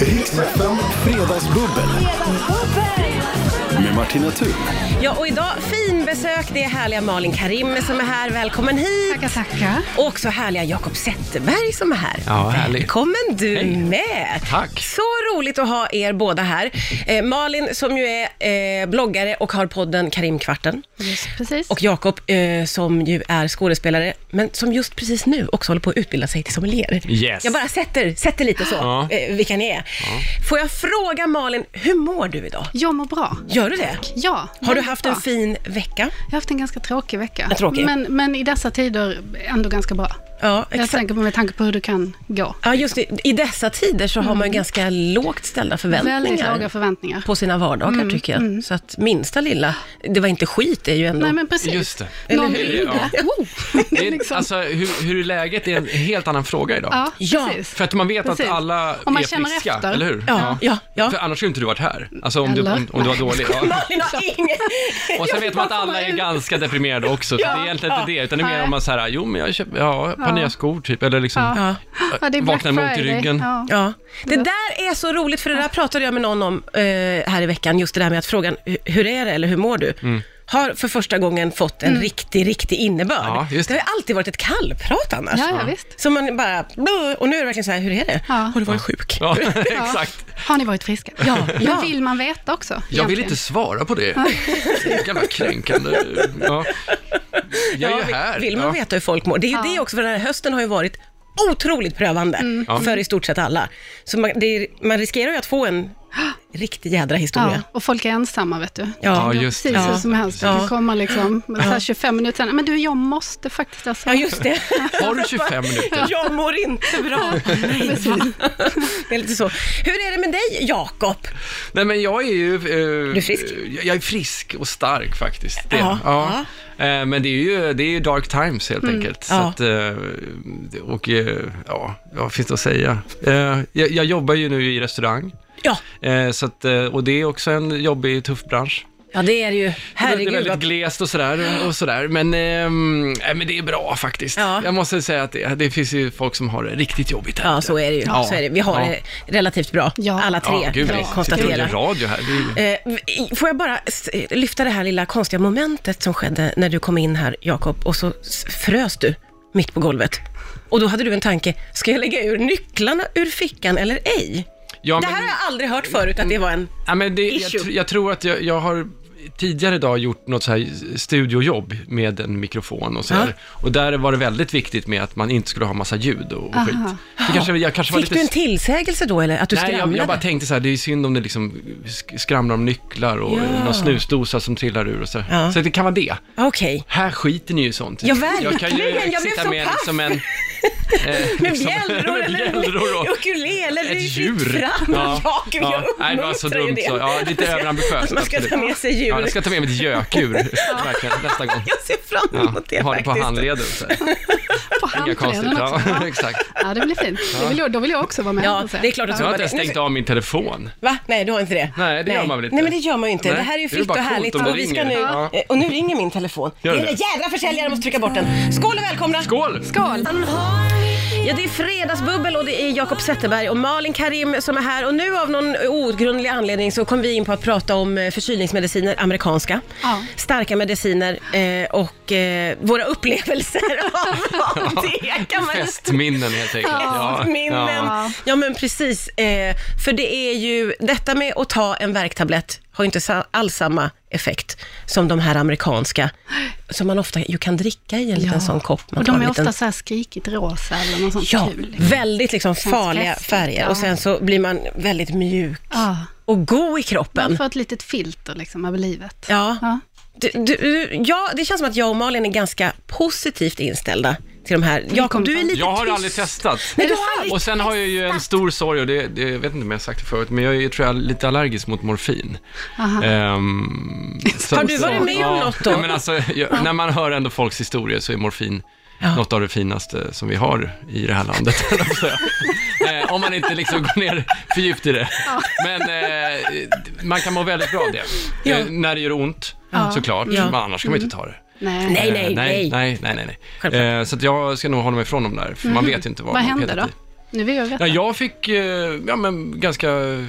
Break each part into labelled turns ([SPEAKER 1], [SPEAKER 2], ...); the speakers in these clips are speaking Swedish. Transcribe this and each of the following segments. [SPEAKER 1] Riksfem Fredagsbubbel med Martina Thun.
[SPEAKER 2] Ja, och idag finbesök. Det är härliga Malin Karim som är här. Välkommen hit.
[SPEAKER 3] Tackar, tackar.
[SPEAKER 2] Och också härliga Jakob Zetterberg som är här.
[SPEAKER 4] Ja, härligt.
[SPEAKER 2] Välkommen du
[SPEAKER 4] Hej.
[SPEAKER 2] med.
[SPEAKER 4] Tack.
[SPEAKER 2] Så roligt att ha er båda här. Eh, Malin som ju är eh, bloggare och har podden Karimkvarten.
[SPEAKER 3] Precis.
[SPEAKER 2] Och Jakob eh, som ju är skådespelare, men som just precis nu också håller på att utbilda sig till sommelier.
[SPEAKER 4] Yes.
[SPEAKER 2] Jag bara sätter, sätter lite så,
[SPEAKER 4] Ja.
[SPEAKER 2] eh, vilka ni är. Får jag fråga Malin, hur mår du idag?
[SPEAKER 3] Jag mår bra.
[SPEAKER 2] Gör du det?
[SPEAKER 3] Ja,
[SPEAKER 2] Har du
[SPEAKER 3] väldigt
[SPEAKER 2] haft
[SPEAKER 3] bra.
[SPEAKER 2] en fin vecka?
[SPEAKER 3] Jag har haft en ganska tråkig vecka.
[SPEAKER 2] En tråkig.
[SPEAKER 3] Men, men i dessa tider ändå ganska bra.
[SPEAKER 2] Ja,
[SPEAKER 3] Jag
[SPEAKER 2] exakt.
[SPEAKER 3] tänker på med tanke på hur du kan gå.
[SPEAKER 2] Ja, just det. I dessa tider så har man ganska lågt ställda
[SPEAKER 3] Mm. Väldigt
[SPEAKER 2] förväntningar
[SPEAKER 3] låga Mm, förväntningar.
[SPEAKER 2] på sina vardagar, tycker jag. Så att minsta lilla, det var inte skit, det är ju ändå...
[SPEAKER 3] Nej men precis.
[SPEAKER 4] Just det.
[SPEAKER 3] Eller
[SPEAKER 4] Eller hur? Ja. Det är,
[SPEAKER 3] liksom.
[SPEAKER 4] Alltså, hur, hur är läget är en helt annan fråga idag.
[SPEAKER 3] ja,
[SPEAKER 2] Ja.
[SPEAKER 3] precis.
[SPEAKER 4] För att man vet
[SPEAKER 3] Precis.
[SPEAKER 4] att alla
[SPEAKER 3] Om man
[SPEAKER 4] är
[SPEAKER 3] känner
[SPEAKER 4] friska,
[SPEAKER 3] efter.
[SPEAKER 4] eller hur?
[SPEAKER 2] Ja, ja, ja.
[SPEAKER 4] För annars skulle inte du varit här. Alltså om, du,
[SPEAKER 3] Eller?
[SPEAKER 4] om, om du var dålig. Ja.
[SPEAKER 2] Malin har inget...
[SPEAKER 4] Och sen vet man att alla är ganska deprimerade också, så det är egentligen inte det, utan det är mer om man säger jo men jag köper, ja, ett par nya skor typ, eller liksom,
[SPEAKER 3] Ja.
[SPEAKER 2] Ja.
[SPEAKER 3] Ja, det är Black
[SPEAKER 4] vaknar med ont i
[SPEAKER 3] Friday.
[SPEAKER 4] ryggen.
[SPEAKER 3] Ja.
[SPEAKER 2] Ja, det där är så roligt, för det där pratade jag med någon om eh, här i veckan, just det där med att frågan "Hu- hur är det eller hur mår du?
[SPEAKER 4] Mm.
[SPEAKER 2] Har för första gången fått en
[SPEAKER 3] Mm.
[SPEAKER 2] riktig, riktig innebörd.
[SPEAKER 4] Ja, just
[SPEAKER 2] det
[SPEAKER 4] det.
[SPEAKER 2] har ju alltid varit ett kallprat annars.
[SPEAKER 3] Ja, ja, visst.
[SPEAKER 2] Så man bara, "Buh", och nu är det verkligen så här, hur är det?
[SPEAKER 3] Ja.
[SPEAKER 2] Har du varit sjuk?
[SPEAKER 4] Ja,
[SPEAKER 3] Ja.
[SPEAKER 4] exakt.
[SPEAKER 3] Har ni varit friska?
[SPEAKER 2] Ja, ja.
[SPEAKER 3] Men vill man veta också?
[SPEAKER 4] Jag vill
[SPEAKER 3] egentligen?
[SPEAKER 4] inte svara på det. Jävla kränkande. Ja. Jag är
[SPEAKER 2] Ja,
[SPEAKER 4] ju
[SPEAKER 2] vill-
[SPEAKER 4] här.
[SPEAKER 2] Vill man
[SPEAKER 4] Ja.
[SPEAKER 2] veta hur folk mår? Det är ju
[SPEAKER 3] Ja.
[SPEAKER 2] det också, för den här hösten har ju varit otroligt prövande
[SPEAKER 3] Mm.
[SPEAKER 2] för i stort sett alla. Så man, det är, man riskerar ju att få en riktig jädra
[SPEAKER 3] Ja,
[SPEAKER 2] historia.
[SPEAKER 3] och folk är ensamma vet du.
[SPEAKER 2] Ja,
[SPEAKER 4] Ja,
[SPEAKER 2] ja.
[SPEAKER 4] just
[SPEAKER 3] Precis
[SPEAKER 4] det.
[SPEAKER 3] hur som helst. Det
[SPEAKER 2] Ja.
[SPEAKER 3] kan komma liksom, så här 25 minuter sen. Men du, jag måste faktiskt alltså.
[SPEAKER 2] just det.
[SPEAKER 4] Har du 25 minuter?
[SPEAKER 2] Jag mår inte bra. Nej, va? det är lite så. Hur är det med dig, Jakob?
[SPEAKER 4] Nej men jag är ju... eh,
[SPEAKER 2] Du är frisk?
[SPEAKER 4] Jag, jag är frisk och stark faktiskt. Det.
[SPEAKER 2] Ja, Mm,
[SPEAKER 4] Ja. Eh, men det är ju det är ju dark times helt enkelt. Så
[SPEAKER 2] ja.
[SPEAKER 4] att, eh, och eh, ja, vad finns det att säga? Eh, jag, jag jobbar ju nu i restaurang.
[SPEAKER 2] Ja,
[SPEAKER 4] Eh, så att, eh, och det är också en jobbig, tuff bransch.
[SPEAKER 2] ja det är det ju.
[SPEAKER 4] det är
[SPEAKER 2] Herregud.
[SPEAKER 4] väldigt
[SPEAKER 2] vad-
[SPEAKER 4] glest och sådär. Och sådär. Men, ehm, nej, men det är bra faktiskt.
[SPEAKER 2] Ja.
[SPEAKER 4] Jag måste säga att det, det finns ju folk som har det riktigt jobbigt här.
[SPEAKER 2] Ja, så är det ju.
[SPEAKER 4] Ja.
[SPEAKER 2] Så är det. Vi har
[SPEAKER 4] Ja.
[SPEAKER 2] det relativt bra,
[SPEAKER 3] Ja.
[SPEAKER 2] alla tre,
[SPEAKER 4] ja, gud,
[SPEAKER 2] kan vi
[SPEAKER 4] jag sitter och
[SPEAKER 2] konstatera.
[SPEAKER 4] gör radio här. Det är ju...
[SPEAKER 2] Eh, v- Får jag bara s- lyfta det här lilla konstiga momentet som skedde när du kom in här, Jakob, och så s- frös du mitt på golvet. Och då hade du en tanke, ska jag lägga ur nycklarna ur fickan eller ej?
[SPEAKER 4] Ja,
[SPEAKER 2] det
[SPEAKER 4] men-
[SPEAKER 2] här har jag aldrig hört förut, att det var en...
[SPEAKER 4] Ja, men det, jag,
[SPEAKER 2] Issue.
[SPEAKER 4] tr- jag tror att jag, jag har tidigare idag gjort något så här studiojobb med en mikrofon och så här. Och där var det väldigt viktigt med att man inte skulle ha massa ljud och, och skit. Det kanske, jag kanske var
[SPEAKER 2] Fick
[SPEAKER 4] lite...
[SPEAKER 2] du en tillsägelse då, eller att du
[SPEAKER 4] Nej, jag,
[SPEAKER 2] skramlade?
[SPEAKER 4] jag bara tänkte så här, det är synd om det liksom sk- skramlar om nycklar och
[SPEAKER 2] Ja.
[SPEAKER 4] någon snusdosa som trillar ur och så. här.
[SPEAKER 2] Ja.
[SPEAKER 4] Så det kan vara det.
[SPEAKER 2] Okej.
[SPEAKER 4] Här skiter ni ju i sånt.
[SPEAKER 2] Ja, verkligen.
[SPEAKER 4] Jag kan ju
[SPEAKER 2] Jag blev
[SPEAKER 4] sitta
[SPEAKER 2] så
[SPEAKER 4] med
[SPEAKER 2] paff.
[SPEAKER 4] liksom en... eh,
[SPEAKER 2] Med
[SPEAKER 4] liksom-
[SPEAKER 2] bjällror
[SPEAKER 4] med
[SPEAKER 2] eller
[SPEAKER 4] bjällror och-
[SPEAKER 2] ukulele, det är ju
[SPEAKER 4] ett
[SPEAKER 2] fritt
[SPEAKER 4] djur.
[SPEAKER 2] fram. Ja, gud, jag
[SPEAKER 4] Nej, det var så
[SPEAKER 2] uppmuntrar ju
[SPEAKER 4] dumt
[SPEAKER 2] det.
[SPEAKER 4] så. Ja, lite överambitiöst.
[SPEAKER 2] Att man ska ta med sig djur.
[SPEAKER 4] Ja, jag ska ta med mig ett gökur verkligen, nästa gång.
[SPEAKER 2] Jag ser fram
[SPEAKER 4] Ja,
[SPEAKER 2] emot det
[SPEAKER 4] ha det
[SPEAKER 2] faktiskt.
[SPEAKER 4] på handleden. Så. här.
[SPEAKER 3] På
[SPEAKER 4] Inga konstigt.
[SPEAKER 3] handleden också.
[SPEAKER 4] Ja, exakt.
[SPEAKER 3] Ja, det blir fint. Det vill jag, då vill jag också vara med.
[SPEAKER 2] Ja,
[SPEAKER 3] och se.
[SPEAKER 2] det är klart att
[SPEAKER 4] Jag har
[SPEAKER 2] Ja,
[SPEAKER 4] inte ens
[SPEAKER 2] men-
[SPEAKER 4] stängt av min telefon.
[SPEAKER 2] Va? Nej, du har inte det?
[SPEAKER 4] Nej, det gör man väl inte?
[SPEAKER 2] Nej, men det gör man ju inte.
[SPEAKER 4] Nej,
[SPEAKER 2] det här är ju
[SPEAKER 4] det är
[SPEAKER 2] fritt
[SPEAKER 4] bara
[SPEAKER 2] och
[SPEAKER 4] coolt
[SPEAKER 2] härligt.
[SPEAKER 4] om
[SPEAKER 2] Och,
[SPEAKER 4] det
[SPEAKER 2] vi ska nu,
[SPEAKER 4] ringer. Ja.
[SPEAKER 2] eh, och nu ringer min telefon.
[SPEAKER 4] Gör
[SPEAKER 2] det är
[SPEAKER 4] det?
[SPEAKER 2] den jädra försäljaren, måste trycka bort den. Skål och välkomna!
[SPEAKER 4] Skål!
[SPEAKER 3] Skål!
[SPEAKER 2] Ja, det är fredagsbubbel och det är Jakob Zetterberg och Malin Karim som är här. Och nu av någon outgrundlig anledning så kom vi in på att prata om eh, förkylningsmediciner, amerikanska.
[SPEAKER 3] Ja.
[SPEAKER 2] Starka mediciner eh, och eh, våra upplevelser av, av det kan man
[SPEAKER 4] Festminnen helt enkelt.
[SPEAKER 2] Ja, minnen. Ja.
[SPEAKER 3] Ja.
[SPEAKER 2] men precis. Eh, för det är ju, detta med att ta en värktablett har ju inte sa- alls samma effekt som de här amerikanska, som man ofta ju kan dricka i en liten sån kopp. Man
[SPEAKER 3] och
[SPEAKER 2] tar
[SPEAKER 3] de
[SPEAKER 2] en
[SPEAKER 3] är
[SPEAKER 2] liten-
[SPEAKER 3] ofta så här skrikigt rosa eller något sånt
[SPEAKER 2] Ja,
[SPEAKER 3] kul.
[SPEAKER 2] väldigt liksom farliga
[SPEAKER 3] festligt,
[SPEAKER 2] färger
[SPEAKER 3] ja.
[SPEAKER 2] och sen så blir man väldigt mjuk
[SPEAKER 3] Ja,
[SPEAKER 2] och god i
[SPEAKER 3] man
[SPEAKER 2] kroppen.
[SPEAKER 3] får ett litet filter liksom över livet.
[SPEAKER 2] Ja.
[SPEAKER 3] Ja.
[SPEAKER 2] Du, du, du, ja, det känns som att jag och Malin är ganska positivt inställda till de här. Jakob,
[SPEAKER 3] kommer
[SPEAKER 2] du är
[SPEAKER 3] fram.
[SPEAKER 2] lite
[SPEAKER 4] Jag har
[SPEAKER 2] tyst.
[SPEAKER 4] aldrig testat.
[SPEAKER 2] Nej, du
[SPEAKER 3] Är det
[SPEAKER 2] har aldrig
[SPEAKER 4] Och sen har jag ju en stor sorg, och det, det, jag vet inte om jag har sagt det förut, men jag är ju, tror jag lite allergisk mot morfin.
[SPEAKER 3] Aha.
[SPEAKER 4] Ehm, så-
[SPEAKER 2] Har du
[SPEAKER 4] så-
[SPEAKER 2] varit med om
[SPEAKER 4] ja.
[SPEAKER 2] något då?
[SPEAKER 4] Ja, men alltså, jag, när man hör ändå folks historier så är morfin något av det finaste som vi har i det här landet. Alltså. Eh, om man inte liksom går ner för djupt i det. Men eh, man kan må väldigt bra av det.
[SPEAKER 2] Ja.
[SPEAKER 4] Eh, när det gör ont, såklart,
[SPEAKER 2] Ja.
[SPEAKER 4] men annars kan man ju inte ta det.
[SPEAKER 3] Nej.
[SPEAKER 2] Nej, nej,
[SPEAKER 4] Eh,
[SPEAKER 2] nej.
[SPEAKER 4] nej, nej, nej, nej.
[SPEAKER 2] Självklart. Mhm.
[SPEAKER 4] Eh, så att jag ska nog hålla mig ifrån dem där, för man vet ju inte vad
[SPEAKER 3] Vad
[SPEAKER 4] man
[SPEAKER 3] händer
[SPEAKER 4] petar
[SPEAKER 3] då?
[SPEAKER 4] i.
[SPEAKER 3] Nu vill jag veta.
[SPEAKER 4] Ja, jag fick eh, ja, men ganska eh,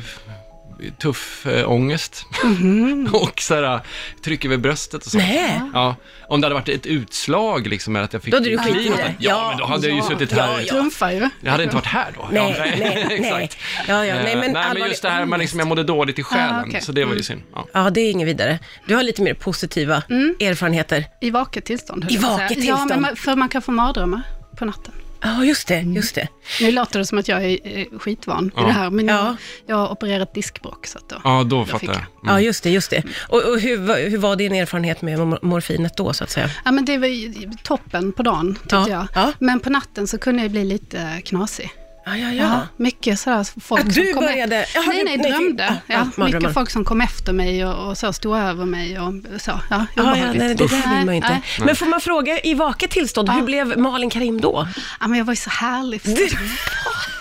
[SPEAKER 4] tuff eh, ångest och så här, eh, tryck över bröstet och sånt.
[SPEAKER 2] Mhm. Nej.
[SPEAKER 4] Ja, om det hade varit ett utslag liksom, eller att jag fick
[SPEAKER 2] Då hade du
[SPEAKER 4] kliv
[SPEAKER 2] skitit i det.
[SPEAKER 4] någonstans. Ja,
[SPEAKER 2] Ja.
[SPEAKER 4] men då hade jag ju
[SPEAKER 3] Ja.
[SPEAKER 4] suttit här.
[SPEAKER 2] Ja,
[SPEAKER 3] Trumfar ju.
[SPEAKER 4] Jag hade inte varit här då.
[SPEAKER 2] Nej,
[SPEAKER 4] Ja,
[SPEAKER 2] nej, nej.
[SPEAKER 4] exakt.
[SPEAKER 2] Ja, ja, nej,
[SPEAKER 4] Eh,
[SPEAKER 2] men,
[SPEAKER 4] nej, men
[SPEAKER 2] allvarlig
[SPEAKER 4] just det här man
[SPEAKER 2] ångest. Mm.
[SPEAKER 4] liksom, jag mådde dåligt i själen,
[SPEAKER 3] Ah, okej.
[SPEAKER 4] så det var ju synd. Ja.
[SPEAKER 2] Ja, det är inget vidare. Du har lite mer positiva
[SPEAKER 3] Mm.
[SPEAKER 2] erfarenheter.
[SPEAKER 3] I vaket tillstånd. höll
[SPEAKER 2] I
[SPEAKER 3] jag på att
[SPEAKER 2] vaket
[SPEAKER 3] säga. Ja,
[SPEAKER 2] tillstånd.
[SPEAKER 3] men man, för man kan få mardrömmar på natten.
[SPEAKER 2] Ja, just det,
[SPEAKER 3] Mm.
[SPEAKER 2] just det.
[SPEAKER 3] Nu låter det som att jag är eh, skitvan i det här, men
[SPEAKER 2] Ja.
[SPEAKER 3] jag, jag har opererat diskbråck. Så att då,
[SPEAKER 4] ja, då
[SPEAKER 3] fick
[SPEAKER 4] fattar jag.
[SPEAKER 3] jag.
[SPEAKER 2] Ja, just det, just det. Och, och hur, va- hur var din erfarenhet med mor- morfinet då, så att säga?
[SPEAKER 3] Ja, men det var ju toppen på dagen, tyckte
[SPEAKER 2] Ja,
[SPEAKER 3] jag.
[SPEAKER 2] ja.
[SPEAKER 3] Men på natten så kunde jag bli lite knasig.
[SPEAKER 2] Ja, ja,
[SPEAKER 3] Ja,
[SPEAKER 2] ja.
[SPEAKER 3] mycket sådär folk
[SPEAKER 2] Att
[SPEAKER 3] som
[SPEAKER 2] du
[SPEAKER 3] kom
[SPEAKER 2] började-
[SPEAKER 3] efter.
[SPEAKER 2] Jaha, du-
[SPEAKER 3] nej, nej,
[SPEAKER 2] nej,
[SPEAKER 3] drömde.
[SPEAKER 2] ja,
[SPEAKER 3] Ja,
[SPEAKER 2] ja, mardrömmar.
[SPEAKER 3] mycket folk som kom efter mig och, och så stod över mig och så. Ja,
[SPEAKER 2] Ja, ja,
[SPEAKER 3] obehagligt.
[SPEAKER 2] nej, det där vill man ju inte.
[SPEAKER 3] Nej,
[SPEAKER 2] Men får man fråga, i vaket tillstånd, hur blev Malin Karim då?
[SPEAKER 3] Ja, men jag var ju så härlig. förstår
[SPEAKER 2] Du-
[SPEAKER 3] du?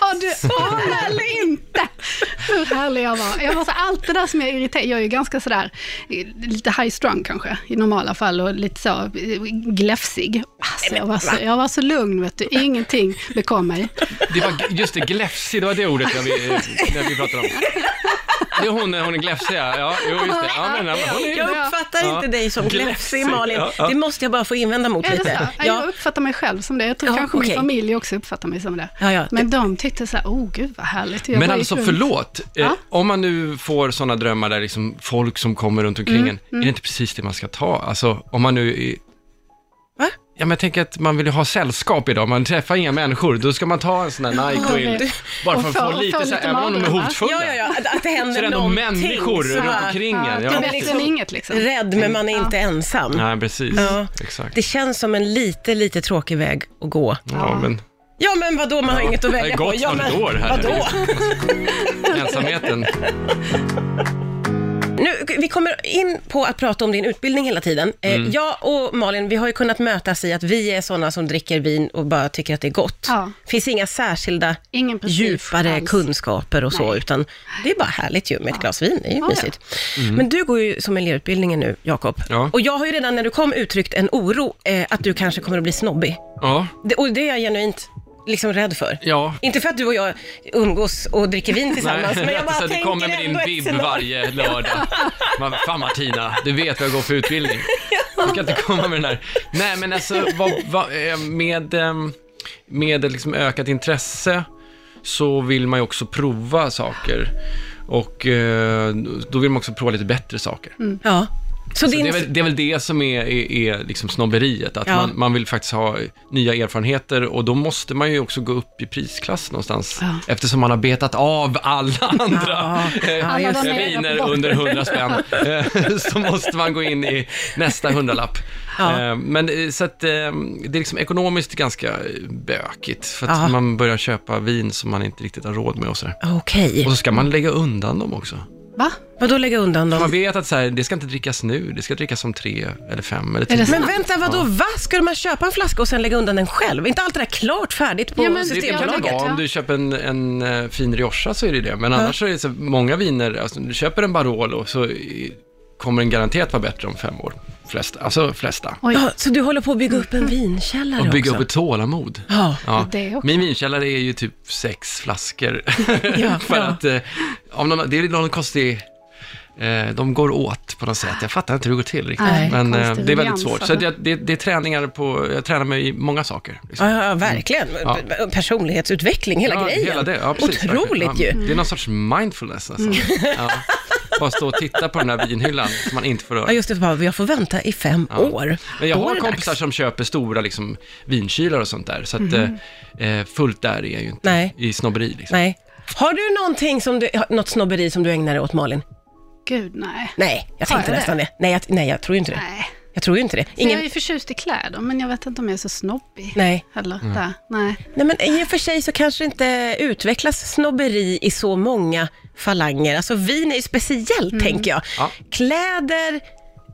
[SPEAKER 3] Ja, du anar eller inte hur härlig jag var. Jag var så, allt det där som jag irriterar, jag är ju ganska sådär, eh, lite high strung kanske i normala fall och lite så eh, gläfsig. Alltså, jag, var så, jag var så lugn, vet du. ingenting bekom mig.
[SPEAKER 4] Det var, just det, gläfsig, det var det ordet jag, vi- när vi pratade om. Det är hon, hon är gläfsig, ja. ja. Jo, just det. Ja, men, ja, men hon är...
[SPEAKER 2] Jag uppfattar
[SPEAKER 4] Ja.
[SPEAKER 2] inte dig som
[SPEAKER 4] Gläfsig,
[SPEAKER 2] gläfsig, Malin.
[SPEAKER 4] ja, ja.
[SPEAKER 2] Det måste jag bara få invända mot
[SPEAKER 3] Är det
[SPEAKER 2] lite.
[SPEAKER 3] så? Ja. Jag uppfattar mig själv som det. Jag tror
[SPEAKER 2] Ja,
[SPEAKER 3] kanske
[SPEAKER 2] okej.
[SPEAKER 3] min familj också uppfattar mig som det.
[SPEAKER 2] Ja, typ. ja.
[SPEAKER 3] Men de tyckte så här, oh gud vad härligt. Jag
[SPEAKER 4] Men
[SPEAKER 3] bara
[SPEAKER 4] alltså,
[SPEAKER 3] gick runt.
[SPEAKER 4] förlåt. Eh,
[SPEAKER 3] Ja.
[SPEAKER 4] Om man nu får sådana drömmar där liksom folk som kommer runt omkring en, är det inte precis det man ska ta? Alltså, om man nu... Är...
[SPEAKER 2] Va?
[SPEAKER 4] Ja, men jag tänker att man vill ju ha sällskap idag. Man träffar inga människor. Då ska man ta en sån här
[SPEAKER 3] Ja,
[SPEAKER 4] Nyquil.
[SPEAKER 3] det-
[SPEAKER 4] Bara
[SPEAKER 3] och
[SPEAKER 4] för att
[SPEAKER 3] få-
[SPEAKER 4] få
[SPEAKER 3] och få
[SPEAKER 4] lite, så här,
[SPEAKER 3] lite
[SPEAKER 4] även om de är
[SPEAKER 3] mardrömmar.
[SPEAKER 4] hotfulla.
[SPEAKER 2] Ja, ja, ja, att, att det händer
[SPEAKER 4] Så det är ändå
[SPEAKER 2] någonting.
[SPEAKER 4] människor
[SPEAKER 2] så
[SPEAKER 4] runt
[SPEAKER 2] här.
[SPEAKER 4] omkring en.
[SPEAKER 3] Det är
[SPEAKER 4] Ja,
[SPEAKER 3] bättre
[SPEAKER 4] liksom.
[SPEAKER 3] än inget liksom.
[SPEAKER 2] Rädd, men man är inte ensam.
[SPEAKER 4] Nej, precis.
[SPEAKER 2] Ja.
[SPEAKER 4] Exakt.
[SPEAKER 2] Det känns som en lite, lite tråkig väg att gå.
[SPEAKER 4] Ja, men
[SPEAKER 2] Ja, men vadå, man har inget att
[SPEAKER 4] det
[SPEAKER 2] välja
[SPEAKER 4] är gott
[SPEAKER 2] på. Ja,
[SPEAKER 4] vad det
[SPEAKER 2] men
[SPEAKER 4] går här.
[SPEAKER 2] Vadå?
[SPEAKER 4] ensamheten.
[SPEAKER 2] Nu, vi kommer in på att prata om din utbildning hela tiden. Eh,
[SPEAKER 4] Mm.
[SPEAKER 2] Jag och Malin, vi har ju kunnat mötas i att vi är sådana som dricker vin och bara tycker att det är gott.
[SPEAKER 3] Ja.
[SPEAKER 2] finns inga särskilda
[SPEAKER 3] Ingen prestige
[SPEAKER 2] djupare
[SPEAKER 3] alls.
[SPEAKER 2] kunskaper och så,
[SPEAKER 3] Nej.
[SPEAKER 2] utan det är bara härligt ju med ett glas vin. Det är ju
[SPEAKER 3] Ja,
[SPEAKER 2] mysigt. Men du går ju som elevutbildningen nu, Jakob.
[SPEAKER 4] Mm. Ja.
[SPEAKER 2] Och jag har ju redan när du kom uttryckt en oro eh, att du kanske kommer att bli snobbig.
[SPEAKER 4] Ja,
[SPEAKER 2] Det, och det är jag genuint liksom rädd för.
[SPEAKER 4] ja.
[SPEAKER 2] Inte för att du och jag umgås och dricker vin tillsammans, men jag bara
[SPEAKER 4] så att du
[SPEAKER 2] tänker
[SPEAKER 4] kommer med din
[SPEAKER 2] ändå ett
[SPEAKER 4] bib
[SPEAKER 2] scenario.
[SPEAKER 4] varje lördag. Man, Fan Martina, du vet vad jag går för utbildning. Du kan inte komma med den där. Nej, men alltså vad, vad, eh, med, ehm, med liksom ökat intresse så vill man ju också prova saker. Och eh, då vill man också prova lite bättre saker.
[SPEAKER 2] Ja. Så,
[SPEAKER 4] Så
[SPEAKER 2] din...
[SPEAKER 4] det, är väl, det är väl det som är, är, är liksom snobberiet, att
[SPEAKER 2] Ja.
[SPEAKER 4] man, man vill faktiskt ha nya erfarenheter och då måste man ju också gå upp i prisklass någonstans,
[SPEAKER 3] Ja.
[SPEAKER 4] eftersom man har betat av alla andra eh,
[SPEAKER 2] Ja, just
[SPEAKER 3] det.
[SPEAKER 4] viner under 100 spänn, Eh, så måste man gå in i nästa hundralapp.
[SPEAKER 2] Ja.
[SPEAKER 4] Eh, Men eh, så att eh, det är liksom ekonomiskt ganska eh, bökigt, för att
[SPEAKER 2] Ja.
[SPEAKER 4] man börjar köpa vin som man inte riktigt har råd med och sådär.
[SPEAKER 2] Okej.
[SPEAKER 4] Och så ska man lägga undan dem också.
[SPEAKER 3] Va?
[SPEAKER 2] Vadå lägga undan
[SPEAKER 4] Man
[SPEAKER 2] dem?
[SPEAKER 4] vet att så här, det ska inte drickas nu, det ska drickas om tre eller fem eller tio.
[SPEAKER 3] det så?
[SPEAKER 2] Men vänta, vadå, va? Ska man köpa en flaska och sen lägga undan den själv? Är inte allt det där klart färdigt på
[SPEAKER 3] Ja, men-
[SPEAKER 4] Det kan det
[SPEAKER 2] Systembolaget?
[SPEAKER 4] vara. Om du köper en, en eh, fin Rioja så är det det. Men annars så är det så många viner, alltså, du köper en Barolo så i- kommer den garanterat vara bättre om fem år. Flesta, alltså flesta.
[SPEAKER 3] Oj,
[SPEAKER 2] Ja, så du håller på att bygga upp en vinkällare
[SPEAKER 4] Och bygga upp
[SPEAKER 2] också?
[SPEAKER 4] ett tålamod.
[SPEAKER 2] Ja.
[SPEAKER 4] Ja.
[SPEAKER 3] Det också.
[SPEAKER 4] Min vinkällare är ju typ sex flaskor.
[SPEAKER 2] Ja,
[SPEAKER 4] För
[SPEAKER 2] ja.
[SPEAKER 4] att, eh, om någon, det är någon konstig... Eh, de går åt på något sätt. Jag fattar inte hur det går till riktigt.
[SPEAKER 3] Nej,
[SPEAKER 4] Men eh,
[SPEAKER 3] konstig
[SPEAKER 4] det är väldigt
[SPEAKER 3] ruljans,
[SPEAKER 4] svårt. Så
[SPEAKER 3] alltså.
[SPEAKER 4] det, det, det är träningar på... Jag tränar mig i många saker. liksom.
[SPEAKER 2] Ja, ja, ja, verkligen. P- Personlighetsutveckling, hela
[SPEAKER 4] ja,
[SPEAKER 2] grejen.
[SPEAKER 4] Hela det. Ja, precis,
[SPEAKER 2] Otroligt
[SPEAKER 4] verkligen.
[SPEAKER 2] ju. Mm.
[SPEAKER 4] ja, Det är någon sorts mindfulness nästan. Ja. Bara stå och titta på den här vinhyllan som man inte får röra.
[SPEAKER 2] Ja, just det. bara, Jag får vänta i fem år.
[SPEAKER 4] Men jag
[SPEAKER 2] Då är
[SPEAKER 4] har
[SPEAKER 2] det
[SPEAKER 4] kompisar
[SPEAKER 2] dags. Mhm.
[SPEAKER 4] som köper stora liksom, vinkylar och sånt där, så att, eh, eh, fullt där är jag ju inte
[SPEAKER 2] Nej.
[SPEAKER 4] i snobberi.
[SPEAKER 3] typ.
[SPEAKER 4] Liksom.
[SPEAKER 2] Nej. Har du någonting som du, något snobberi som du ägnar dig åt, Malin?
[SPEAKER 3] gud nej.
[SPEAKER 2] Nej, jag
[SPEAKER 3] Har jag
[SPEAKER 2] tänkte
[SPEAKER 3] det?
[SPEAKER 2] nästan det. Nej jag, nej, jag tror ju inte det.
[SPEAKER 3] nej.
[SPEAKER 2] Jag tror ju inte det.
[SPEAKER 3] Ingen...
[SPEAKER 2] Ingen,
[SPEAKER 3] Jag är ju förtjust i kläder, men jag vet inte om jag är så snobbig.
[SPEAKER 2] Nej.
[SPEAKER 3] Heller.
[SPEAKER 4] Mm.
[SPEAKER 3] Där. Nej.
[SPEAKER 2] Nej, men i och för sig så kanske det inte utvecklas snobberi i så många falanger. Alltså vin är ju speciellt,
[SPEAKER 3] Mm.
[SPEAKER 2] tänker jag.
[SPEAKER 4] Ja.
[SPEAKER 2] Kläder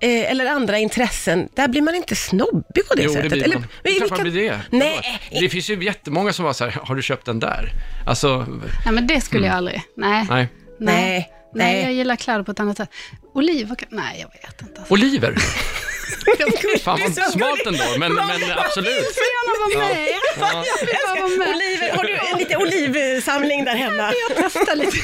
[SPEAKER 2] eh, eller andra intressen, där blir man inte snobbig på det
[SPEAKER 4] Jo, det
[SPEAKER 2] sättet.
[SPEAKER 4] blir
[SPEAKER 2] eller,
[SPEAKER 4] man.
[SPEAKER 2] men
[SPEAKER 4] Klart
[SPEAKER 2] vilka-
[SPEAKER 4] man blir det.
[SPEAKER 2] Nej,
[SPEAKER 3] eh,
[SPEAKER 4] Det finns ju jättemånga som var så här, har du köpt den där? Alltså,
[SPEAKER 3] nej, men det skulle jag aldrig. Nej.
[SPEAKER 4] Mm. nej.
[SPEAKER 2] Nej.
[SPEAKER 3] Nej,
[SPEAKER 2] Nej.
[SPEAKER 3] jag gillar kläder på ett annat sätt. Oliver, kan- nej jag vet inte. Alltså.
[SPEAKER 4] Oliver. Fan vad smalt ändå, men, men absolut.
[SPEAKER 3] Så gärna vara med.
[SPEAKER 4] Ja.
[SPEAKER 3] Jag vill bara vara
[SPEAKER 2] Oliver,
[SPEAKER 3] med.
[SPEAKER 2] har du en liten olivsamling där hemma?
[SPEAKER 3] Jag testar lite,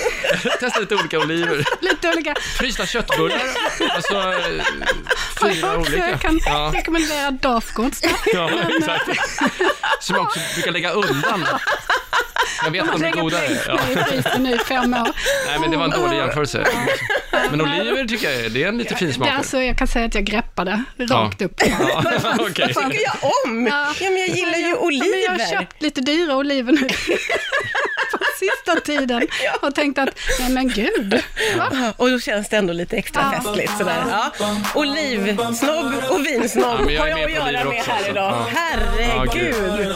[SPEAKER 4] Testa lite olika oliver.
[SPEAKER 3] lite olika.
[SPEAKER 4] Frysta köttbullar, alltså eh,
[SPEAKER 3] Har
[SPEAKER 4] fyra
[SPEAKER 3] jag också,
[SPEAKER 4] olika.
[SPEAKER 3] jag kan
[SPEAKER 4] Ja,
[SPEAKER 3] rekommendera Dafgårds.
[SPEAKER 4] ja, exakt. Som jag också brukar lägga undan. Jag vet att de är goda. Ja.
[SPEAKER 3] i frysen nu i fem år.
[SPEAKER 4] Nej, men det var en dålig jämförelse. Men oliver tycker jag är, det är en lite fin
[SPEAKER 3] Det
[SPEAKER 4] smak.
[SPEAKER 3] är alltså, jag kan säga att jag greppade rakt upp.
[SPEAKER 4] Ja, okej.
[SPEAKER 2] tycker jag om? Ja,
[SPEAKER 3] Ja.
[SPEAKER 2] men jag gillar ju
[SPEAKER 3] Ja, Men jag har
[SPEAKER 2] oliver.
[SPEAKER 3] köpt lite dyra oliver nu på sista tiden och tänkt att, nej men gud.
[SPEAKER 2] Ja, Och då känns det ändå lite extra
[SPEAKER 3] Ja.
[SPEAKER 2] festligt sådär. Ja. Olivsnobb och vinsnobb
[SPEAKER 4] Ja, men jag
[SPEAKER 2] har jag
[SPEAKER 4] är med
[SPEAKER 2] att
[SPEAKER 4] på
[SPEAKER 2] göra
[SPEAKER 4] oliver
[SPEAKER 2] med
[SPEAKER 4] också,
[SPEAKER 2] här
[SPEAKER 4] alltså.
[SPEAKER 2] idag.
[SPEAKER 4] Ja.
[SPEAKER 2] Herregud.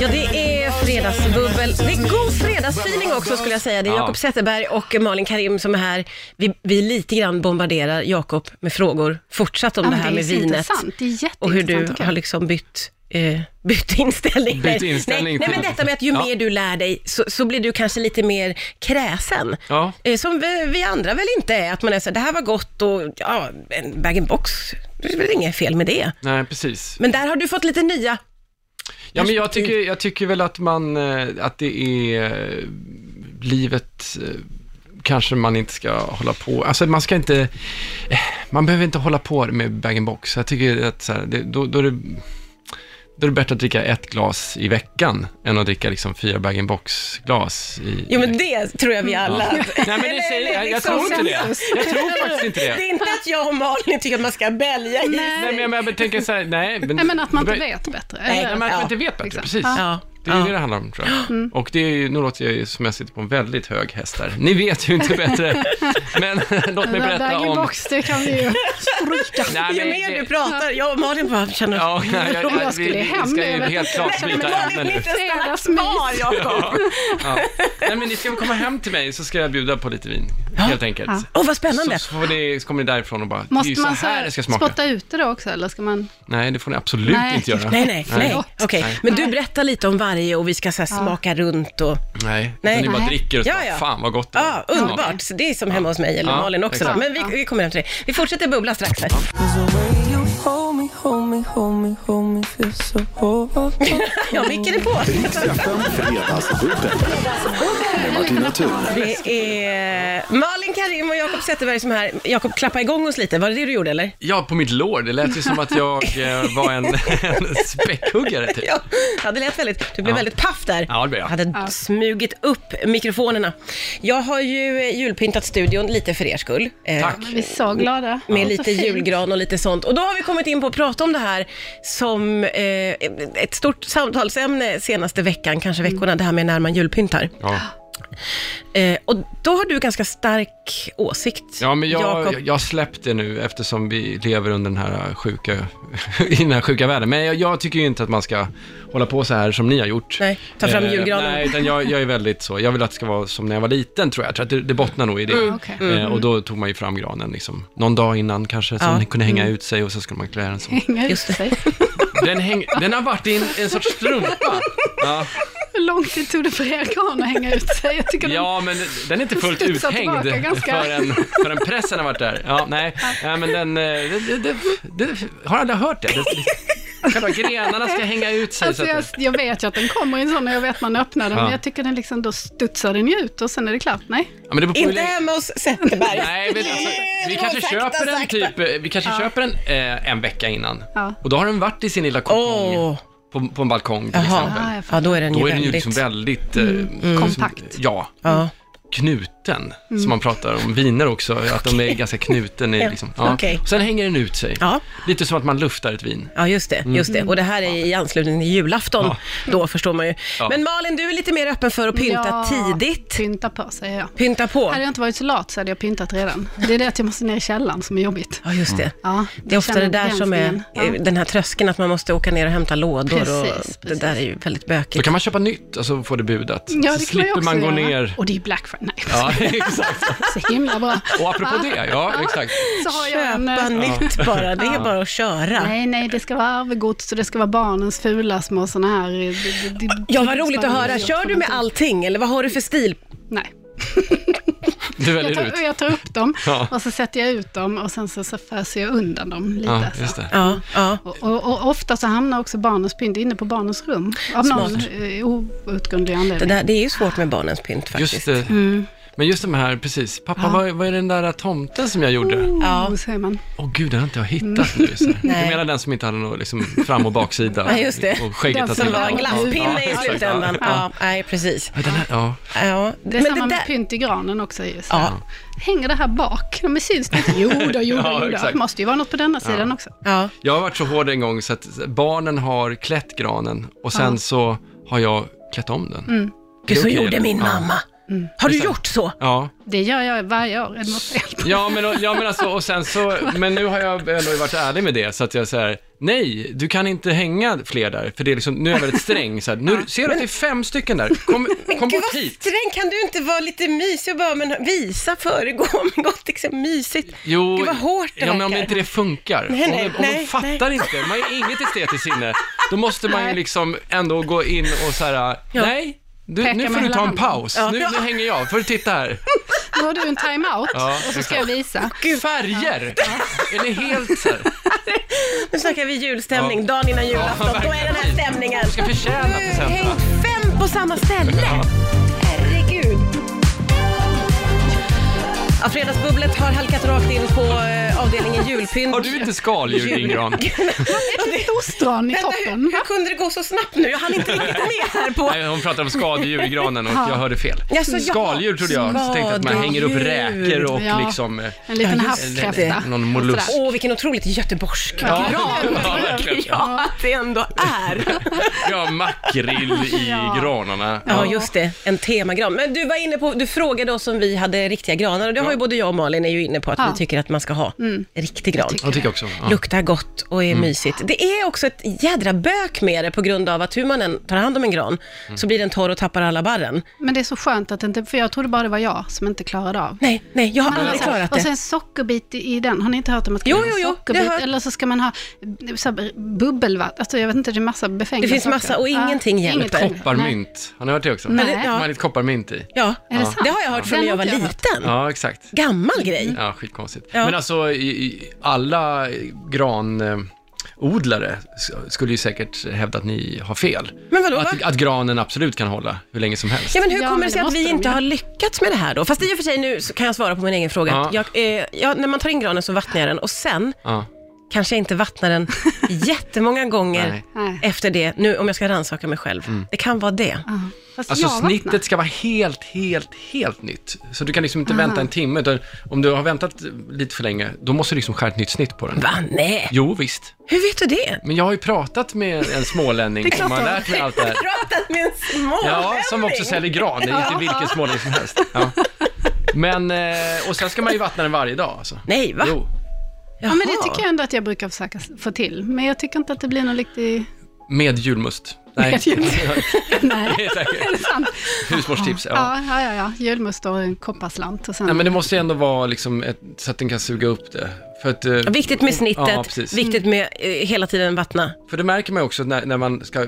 [SPEAKER 2] Ja, det är fredagsbubbel. Det är god fredagsfeeling också skulle jag säga. Det är
[SPEAKER 4] Ja.
[SPEAKER 2] Jakob Zetterberg och Malin Karim som är här. Vi, vi lite grann bombarderar Jakob med frågor fortsatt om
[SPEAKER 3] Ja,
[SPEAKER 2] det
[SPEAKER 3] men
[SPEAKER 2] här
[SPEAKER 3] det är
[SPEAKER 2] med
[SPEAKER 3] så
[SPEAKER 2] vinet.
[SPEAKER 3] intressant. Det är
[SPEAKER 2] Och hur
[SPEAKER 3] jätteintressant
[SPEAKER 2] du
[SPEAKER 3] tycker jag.
[SPEAKER 2] har liksom bytt, eh, bytt inställning.
[SPEAKER 4] Bytt inställning
[SPEAKER 2] nej, nej, men
[SPEAKER 4] till-
[SPEAKER 2] detta med att ju
[SPEAKER 4] Ja.
[SPEAKER 2] mer du lär dig så, så blir du kanske lite mer kräsen.
[SPEAKER 4] Ja.
[SPEAKER 2] Eh, som vi, vi andra väl inte är, att man är så här, det här var gott och ja, en bag-in-box, det är väl inget fel med det.
[SPEAKER 4] Nej, precis.
[SPEAKER 2] Men där har du fått lite nya
[SPEAKER 4] Ja, men jag
[SPEAKER 2] Perspektiv.
[SPEAKER 4] tycker, jag tycker väl att man, eh, att det är eh, livet, eh, kanske man inte ska hålla på, alltså man ska inte, eh, man behöver inte hålla på med bag-in-box. Jag tycker att så här, det, då, då är det, då är det bättre att dricka ett glas i veckan än att dricka liksom fyra bag-in-box-glas i...
[SPEAKER 2] Jo men det tror jag vi alla...
[SPEAKER 4] Mm. Ja. Nej, men det säger, jag, jag tror inte det. Jag tror faktiskt inte
[SPEAKER 2] Det är inte att jag och Malin tycker att man ska bälga i
[SPEAKER 3] Nej.
[SPEAKER 4] Nej, men jag- men jag tänker så här, nej. Men,
[SPEAKER 3] Nej men att man
[SPEAKER 4] det
[SPEAKER 3] inte
[SPEAKER 4] bör-
[SPEAKER 3] vet bättre.
[SPEAKER 2] Nej,
[SPEAKER 4] Nej,
[SPEAKER 3] Eller-
[SPEAKER 4] men att man
[SPEAKER 2] Ja,
[SPEAKER 4] inte vet bättre,
[SPEAKER 3] exakt.
[SPEAKER 4] precis.
[SPEAKER 2] Ja. Mm.
[SPEAKER 4] Det är ju
[SPEAKER 2] Ja.
[SPEAKER 4] det det handlar om, tror jag. Och det är ju, nu låter jag ju som jag sitter på en väldigt hög häst där. Ni vet ju inte bättre, men låt
[SPEAKER 3] Men
[SPEAKER 4] mig berätta om...
[SPEAKER 3] Bag-in-box, det kan vi ju stryka.
[SPEAKER 4] Nej,
[SPEAKER 2] Ju
[SPEAKER 4] men
[SPEAKER 2] mer
[SPEAKER 4] det-
[SPEAKER 2] du pratar, jag och Malin bara känner
[SPEAKER 4] Ja, nej, jag,
[SPEAKER 3] Om jag
[SPEAKER 4] vi-
[SPEAKER 3] skulle
[SPEAKER 4] vi
[SPEAKER 3] hem nu,
[SPEAKER 4] ska
[SPEAKER 3] jag
[SPEAKER 4] ju
[SPEAKER 3] vet
[SPEAKER 4] helt
[SPEAKER 3] inte.
[SPEAKER 4] klart
[SPEAKER 3] Nej, men
[SPEAKER 4] byta ämne nu.
[SPEAKER 3] Fredagsmys.
[SPEAKER 2] Jakob.
[SPEAKER 4] Ja. Nej, men ni ska väl komma hem till mig, så ska jag bjuda på lite vin, helt enkelt.
[SPEAKER 2] Åh, vad
[SPEAKER 4] Så,
[SPEAKER 2] spännande.
[SPEAKER 4] så, får ni, så kommer ni därifrån och bara, det är ju
[SPEAKER 3] Måste
[SPEAKER 4] så
[SPEAKER 3] man så
[SPEAKER 4] här
[SPEAKER 3] här
[SPEAKER 4] det ska smaka.
[SPEAKER 3] spotta ut det då också, eller ska man?
[SPEAKER 4] Nej, det får ni absolut
[SPEAKER 3] Nej.
[SPEAKER 4] inte göra.
[SPEAKER 2] Nej, nej, nej.
[SPEAKER 3] Förlåt.
[SPEAKER 2] Okej,
[SPEAKER 4] Nej.
[SPEAKER 2] men du berättar lite om varje och vi ska så här smaka runt och...
[SPEAKER 4] Nej,
[SPEAKER 2] Nej.
[SPEAKER 4] utan ni bara
[SPEAKER 3] Nej.
[SPEAKER 4] dricker och så
[SPEAKER 2] Ja,
[SPEAKER 4] bara,
[SPEAKER 2] ja.
[SPEAKER 4] fan vad gott det var.
[SPEAKER 2] Ja, underbart. Så Det är som hemma hos mig, eller
[SPEAKER 4] Ja,
[SPEAKER 2] Malin också.
[SPEAKER 4] exakt.
[SPEAKER 2] Men vi, vi kommer hem till det. Vi fortsätter bubbla strax här. Ja, vilken är på?
[SPEAKER 1] Riks FM Fredagsbubbel. Med Martina Thun.
[SPEAKER 2] Det är Malin Karim och Jakob Zetterberg som är här. Jakob, klappa igång oss lite. Var det det du gjorde, eller?
[SPEAKER 4] Ja, på mitt lår. Det lät ju som att jag eh, var en, en späckhuggare typ.
[SPEAKER 2] Ja, ja, det lät väldigt... Du blev
[SPEAKER 4] Ja.
[SPEAKER 2] väldigt paff där.
[SPEAKER 4] Ja, det blev jag.
[SPEAKER 2] hade smugit upp mikrofonerna. Jag har ju eh, julpyntat studion lite för er skull. Eh,
[SPEAKER 4] Tack.
[SPEAKER 3] Vi är så
[SPEAKER 4] Mm.
[SPEAKER 3] glada.
[SPEAKER 2] Med
[SPEAKER 3] Så
[SPEAKER 2] lite
[SPEAKER 3] fint.
[SPEAKER 2] julgran och lite sånt. Och då har vi kommit in på att prata om det här som eh, ett stort samtalsämne senaste veckan, kanske
[SPEAKER 3] Mm.
[SPEAKER 2] veckorna, det här med när man julpyntar.
[SPEAKER 4] Ja.
[SPEAKER 2] Eh, och då har du ganska stark åsikt,
[SPEAKER 4] Ja, men jag,
[SPEAKER 2] Jakob.
[SPEAKER 4] jag- jag släppte nu eftersom vi lever under den här sjuka, i den här sjuka världen. Men jag, jag tycker ju inte att man ska hålla på så här som ni har gjort. Eh,
[SPEAKER 2] Nej, ta fram julgranen.
[SPEAKER 4] Nej, utan jag, jag är väldigt så. Jag vill att det ska vara som när jag var liten, tror jag. Jag tror att det, det bottnar nog i det.
[SPEAKER 2] Mm.
[SPEAKER 3] okej.
[SPEAKER 4] Eh, och då tog man ju fram granen liksom, någon dag innan kanske, så
[SPEAKER 2] Ja. Mm.
[SPEAKER 4] den kunde hänga ut sig och så skulle man klä den som...
[SPEAKER 3] Inga
[SPEAKER 2] Just det.
[SPEAKER 3] sig.
[SPEAKER 4] Den, häng, den har varit i en, en sorts strumpa. Ja.
[SPEAKER 3] Hur lång tid tog det för er gran att hänga ut sig? Jag tycker
[SPEAKER 4] Ja, men den är inte fullt
[SPEAKER 3] Studsa
[SPEAKER 4] uthängd
[SPEAKER 3] tillbaka ganska.
[SPEAKER 4] förrän, förrän pressen har varit där. Ja, nej, ja, men den... eh, Det, det, det, det, har alla hört det? det själva grenarna ska hänga ut sig.
[SPEAKER 3] Alltså
[SPEAKER 4] så
[SPEAKER 3] jag,
[SPEAKER 4] att,
[SPEAKER 3] jag vet ju att den kommer i en sån och jag vet man öppnar den,
[SPEAKER 4] Ja.
[SPEAKER 3] men jag tycker den liksom, då stutsar den ju ut och sen är det klart. Nej.
[SPEAKER 4] ja, men det beror på hur
[SPEAKER 2] Inte
[SPEAKER 4] länge-
[SPEAKER 2] hemma hos Zetterberg.
[SPEAKER 4] Nej, men alltså, vi
[SPEAKER 2] Det
[SPEAKER 4] kanske
[SPEAKER 2] går sakta,
[SPEAKER 4] köper den
[SPEAKER 2] sakta.
[SPEAKER 4] typ, eh, vi kanske köper den eh, en vecka innan.
[SPEAKER 3] Ja.
[SPEAKER 4] Och då har den varit i sin lilla kokong,
[SPEAKER 2] Åh.
[SPEAKER 4] på, på en balkong till exempel.
[SPEAKER 2] Jaha,
[SPEAKER 3] Ja,
[SPEAKER 2] ja,
[SPEAKER 3] jag fattar.
[SPEAKER 2] då är den ju
[SPEAKER 4] Då är den ju
[SPEAKER 2] väldigt...
[SPEAKER 4] liksom väldigt... eh,
[SPEAKER 3] Mm, Kompakt.
[SPEAKER 4] Ja,
[SPEAKER 2] ja.
[SPEAKER 4] knuten, som man pratar om. Viner också, att de är ganska knuten. I, liksom.
[SPEAKER 2] Okej.
[SPEAKER 4] Sen hänger den ut sig.
[SPEAKER 2] Ja.
[SPEAKER 4] Lite som att man luftar ett vin.
[SPEAKER 2] Ja, just det. Just
[SPEAKER 4] Mm.
[SPEAKER 2] det. Och det här är i anslutning till julafton, då förstår man ju.
[SPEAKER 4] Ja.
[SPEAKER 2] Men Malin, du är lite mer öppen för att pynta
[SPEAKER 3] Ja,
[SPEAKER 2] tidigt.
[SPEAKER 3] Pynta på, säger jag.
[SPEAKER 2] Pynta på.
[SPEAKER 3] Hade jag inte varit så lat så hade jag pyntat redan. Det är det att jag måste ner i källaren som är jobbigt.
[SPEAKER 2] Ja, just det.
[SPEAKER 3] Ja,
[SPEAKER 2] Det är ofta det
[SPEAKER 3] känner
[SPEAKER 2] där som är
[SPEAKER 3] begränsningen. Ja.
[SPEAKER 2] eh, den här tröskeln, att man måste åka ner och hämta lådor
[SPEAKER 3] Precis,
[SPEAKER 2] och det där är ju väldigt
[SPEAKER 4] Då
[SPEAKER 2] bökigt.
[SPEAKER 4] kan man köpa nytt och så får det budat.
[SPEAKER 3] Ja,
[SPEAKER 4] så
[SPEAKER 3] det kan
[SPEAKER 4] slipper
[SPEAKER 3] jag
[SPEAKER 4] man
[SPEAKER 3] också
[SPEAKER 4] gå
[SPEAKER 3] göra.
[SPEAKER 4] ner.
[SPEAKER 3] Och det är Black Friday. Nej,
[SPEAKER 4] Ja, exakt.
[SPEAKER 3] så himla bra.
[SPEAKER 4] Och apropå det, ja, exakt.
[SPEAKER 3] Så har jag en...
[SPEAKER 2] Köpa
[SPEAKER 3] eh,
[SPEAKER 2] nytt bara, det är bara att köra.
[SPEAKER 3] Nej, nej, det ska vara arvegods och det ska vara barnens fula små sådana här... eh, d- d- d-
[SPEAKER 2] Ja, vad roligt att höra.
[SPEAKER 3] spargris.
[SPEAKER 2] Kör du med allting eller vad har du för stil?
[SPEAKER 3] Nej.
[SPEAKER 4] Du väljer
[SPEAKER 3] jag,
[SPEAKER 4] ut.
[SPEAKER 3] tar, jag tar upp dem
[SPEAKER 4] Ja.
[SPEAKER 3] och så sätter jag ut dem och sen så, så föser jag undan dem lite.
[SPEAKER 4] Ja,
[SPEAKER 3] så.
[SPEAKER 4] just det.
[SPEAKER 2] Ja, ja.
[SPEAKER 3] Och, och, och ofta så hamnar också barnens pynt inne på barnens rum. Av någon
[SPEAKER 2] Smart.
[SPEAKER 3] eh, outgrundlig
[SPEAKER 2] Det,
[SPEAKER 3] anledning.
[SPEAKER 2] där, det är ju svårt med barnens pynt faktiskt.
[SPEAKER 4] Just det. Men just de här, precis. Pappa, vad, vad är den där tomten som jag gjorde?
[SPEAKER 2] Ja.
[SPEAKER 3] Oh, säger man.
[SPEAKER 4] Åh gud, den har inte jag hittat nu. Så här. Du
[SPEAKER 2] Nej.
[SPEAKER 4] menar den som inte hade någon liksom, fram och baksida?
[SPEAKER 2] Ja, just det.
[SPEAKER 4] Och skägget
[SPEAKER 3] Den
[SPEAKER 4] att
[SPEAKER 3] som
[SPEAKER 2] Det
[SPEAKER 4] den
[SPEAKER 2] var en
[SPEAKER 3] Ja,
[SPEAKER 2] glasspinne i
[SPEAKER 4] exakt.
[SPEAKER 2] slutändan.
[SPEAKER 4] Ja, ja.
[SPEAKER 2] Ja, nej, precis.
[SPEAKER 4] Ja, den här, ja.
[SPEAKER 2] Ja,
[SPEAKER 3] Det är
[SPEAKER 2] men
[SPEAKER 3] samma
[SPEAKER 2] det
[SPEAKER 3] med
[SPEAKER 2] där-
[SPEAKER 3] pynt i granen också. Just.
[SPEAKER 2] Ja.
[SPEAKER 3] Hänger det här bak? Ja, men syns det inte? Jo, då, jo,
[SPEAKER 4] Ja,
[SPEAKER 3] då, jo, då.
[SPEAKER 4] exakt.
[SPEAKER 3] Det måste ju vara något på denna sidan också.
[SPEAKER 2] Ja,
[SPEAKER 4] Jag har varit så hård en gång så att barnen har klätt granen och sen så har jag klätt om den.
[SPEAKER 2] Mm. gud så
[SPEAKER 4] okej,
[SPEAKER 2] gjorde
[SPEAKER 4] eller?
[SPEAKER 2] min
[SPEAKER 4] Ja.
[SPEAKER 2] mamma. Har du gjort så?
[SPEAKER 4] Ja.
[SPEAKER 3] Det gör jag varje år. Det måste jag-
[SPEAKER 4] Ja men, ja, men alltså, och sen så, men nu har jag ändå varit ärlig med det, så att jag säger nej, du kan inte hänga fler där, för det är liksom, nu är jag väldigt sträng, så här, nu ser du att det är fem stycken där, kom, kom
[SPEAKER 2] Gud
[SPEAKER 4] bort
[SPEAKER 2] vad
[SPEAKER 4] hit.
[SPEAKER 2] sträng, kan du inte vara lite mysig och bara men visa, föregå med gott exempel, mysigt.
[SPEAKER 4] Jo,
[SPEAKER 2] Gud vad hårt det
[SPEAKER 4] ja, men om
[SPEAKER 2] verkar.
[SPEAKER 4] inte det funkar,
[SPEAKER 2] Nej,
[SPEAKER 4] om,
[SPEAKER 2] nej,
[SPEAKER 4] de- om de
[SPEAKER 2] nej,
[SPEAKER 4] fattar inte, man har ju inget estetiskt sinne, då måste man ju
[SPEAKER 3] Nej.
[SPEAKER 4] liksom ändå gå in och så här, nej, du,
[SPEAKER 3] Peka
[SPEAKER 4] nu får
[SPEAKER 3] med
[SPEAKER 4] du
[SPEAKER 3] hela
[SPEAKER 4] ta en
[SPEAKER 3] handen."
[SPEAKER 4] paus,
[SPEAKER 2] Ja.
[SPEAKER 4] nu, nu hänger jag, för titta här,
[SPEAKER 3] Nu har du en time-out
[SPEAKER 4] Ja,
[SPEAKER 3] och så ska jag visa.
[SPEAKER 4] färger, är ni helt så här,
[SPEAKER 2] Nu snackar vi julstämning, dagen innan julafton. Då är den här stämningen.
[SPEAKER 4] ska förtjäna
[SPEAKER 2] Du,
[SPEAKER 4] presenterna.
[SPEAKER 2] hängt fem på samma ställe. Herregud. Ja, fredagsbubblet har halkat rakt in på eh, avdelningen julpynt.
[SPEAKER 4] Har du inte skaldjur i din gran?
[SPEAKER 3] Ett litet ostron i
[SPEAKER 2] Vänta,
[SPEAKER 3] toppen.
[SPEAKER 2] hur,
[SPEAKER 3] va?
[SPEAKER 2] hur kunde det gå så snabbt nu? Jag hann inte riktigt med här på...
[SPEAKER 4] Nej, hon pratar om skadedjur i granen och jag hörde fel.
[SPEAKER 2] Jaså, ja.
[SPEAKER 4] Skaldjur trodde jag, så tänkte jag att man hänger upp
[SPEAKER 2] Skaldjur.
[SPEAKER 4] räkor och
[SPEAKER 3] Ja.
[SPEAKER 4] liksom... eh,
[SPEAKER 3] En liten
[SPEAKER 2] Ja, just det.
[SPEAKER 3] havskräfta.
[SPEAKER 4] Någon mollusk.
[SPEAKER 2] Åh, vilken otroligt göteborgsk
[SPEAKER 4] Ja,
[SPEAKER 2] gran.
[SPEAKER 4] ja, verkligen.
[SPEAKER 2] Ja, att det ändå är.
[SPEAKER 4] Ja, makrill i
[SPEAKER 3] Ja.
[SPEAKER 4] granarna.
[SPEAKER 2] Ja, just det. En temagran. Men du var inne på, du frågade oss om vi hade riktiga granar och det har ju både jag och Malin är ju inne på att
[SPEAKER 3] Ja. Mm.
[SPEAKER 2] vi tycker att man ska ha riktig gran.
[SPEAKER 4] Jag tycker också. Ja. Mm.
[SPEAKER 2] Luktar gott och är mysigt. Det är också ett jädra bök med det på grund av att hur man än tar hand om en gran
[SPEAKER 4] Mm.
[SPEAKER 2] så blir den torr och tappar alla barren.
[SPEAKER 3] Men det är så skönt att det inte, för jag trodde bara det var jag som inte klarade av.
[SPEAKER 2] Nej, nej, jag har
[SPEAKER 3] Man
[SPEAKER 2] aldrig
[SPEAKER 3] har så här-
[SPEAKER 2] klarat
[SPEAKER 3] Och
[SPEAKER 2] det.
[SPEAKER 3] sen sockerbit i i den. Har ni inte hört om att
[SPEAKER 2] Jo,
[SPEAKER 3] man
[SPEAKER 2] jo, jo, det
[SPEAKER 3] sockerbit?
[SPEAKER 2] har-
[SPEAKER 3] Eller så ska man ha så här, bubbelvatten. Alltså, jag vet inte, det är massa befängda
[SPEAKER 2] Det finns
[SPEAKER 3] saker.
[SPEAKER 2] massa och ingenting hjälper.
[SPEAKER 3] Nej.
[SPEAKER 4] Kopparmynt. Har ni hört det också?
[SPEAKER 3] Nej.
[SPEAKER 4] Man har lite kopparmynt i.
[SPEAKER 2] Ja,
[SPEAKER 3] Är det sant?
[SPEAKER 2] det har jag hört från
[SPEAKER 3] Den
[SPEAKER 2] när jag
[SPEAKER 3] har
[SPEAKER 2] var
[SPEAKER 3] inte jag
[SPEAKER 2] liten.
[SPEAKER 4] Ja, exakt.
[SPEAKER 2] Gammal grej.
[SPEAKER 4] Ja, skitkonstigt.
[SPEAKER 2] Ja.
[SPEAKER 4] Men alltså, i, i, alla granodlare skulle ju säkert hävda att ni har fel.
[SPEAKER 2] Men vadå, va?
[SPEAKER 4] Att, att granen absolut kan hålla hur länge som helst.
[SPEAKER 2] Ja, men hur
[SPEAKER 3] Ja,
[SPEAKER 2] kommer
[SPEAKER 3] men
[SPEAKER 2] det sig
[SPEAKER 3] det
[SPEAKER 2] att vi
[SPEAKER 3] måste de
[SPEAKER 2] inte
[SPEAKER 3] ju.
[SPEAKER 2] har lyckats med det här då? Fast i och för sig nu så kan jag svara på min egen fråga.
[SPEAKER 4] Ja.
[SPEAKER 2] Jag, eh, jag, när man tar in granen så vattnar jag den och sen
[SPEAKER 4] Ja.
[SPEAKER 2] kanske jag inte vattnar den jättemånga gånger
[SPEAKER 4] Nej. Mm.
[SPEAKER 3] Nej.
[SPEAKER 2] efter det, nu om jag ska rannsaka mig själv. Det kan vara det.
[SPEAKER 3] Ja. Fast
[SPEAKER 4] Alltså
[SPEAKER 3] jag vattnar.
[SPEAKER 4] snittet ska vara helt, helt, helt nytt. Så du kan liksom inte vänta en timme, utan om du har väntat lite för länge, då måste du liksom skära ett nytt snitt på den.
[SPEAKER 2] Va? Nej!
[SPEAKER 4] Jo, visst.
[SPEAKER 2] Hur vet du det?
[SPEAKER 4] Men jag har ju pratat med en smålänning som har lärt mig allt det här.
[SPEAKER 2] Pratat med en smålänning!
[SPEAKER 4] Ja, som också säljer gran. Det är inte vilken smålänning som helst. Ja. Men, eh, och sen ska man ju vattna den varje dag alltså.
[SPEAKER 2] Nej, va?
[SPEAKER 4] Jo.
[SPEAKER 3] Ja, men det tycker jag ändå att jag brukar försöka s- få till. Men jag tycker inte att det blir någon riktig...
[SPEAKER 4] Med julmust. Nej.
[SPEAKER 3] Med julmust. Nej,
[SPEAKER 4] Det är säkert.
[SPEAKER 3] är det sant?
[SPEAKER 4] Husmorstips, ja.
[SPEAKER 3] Ja, ja, ja. ja. Julmust och en kopparslant och sen...
[SPEAKER 4] Nej, men det måste ju ändå vara liksom ett, så att den kan suga upp det. För att, eh,
[SPEAKER 2] Viktigt med snittet,
[SPEAKER 4] Ja, precis.
[SPEAKER 2] viktigt med eh, hela tiden vattna.
[SPEAKER 4] För det märker man ju också när, när man ska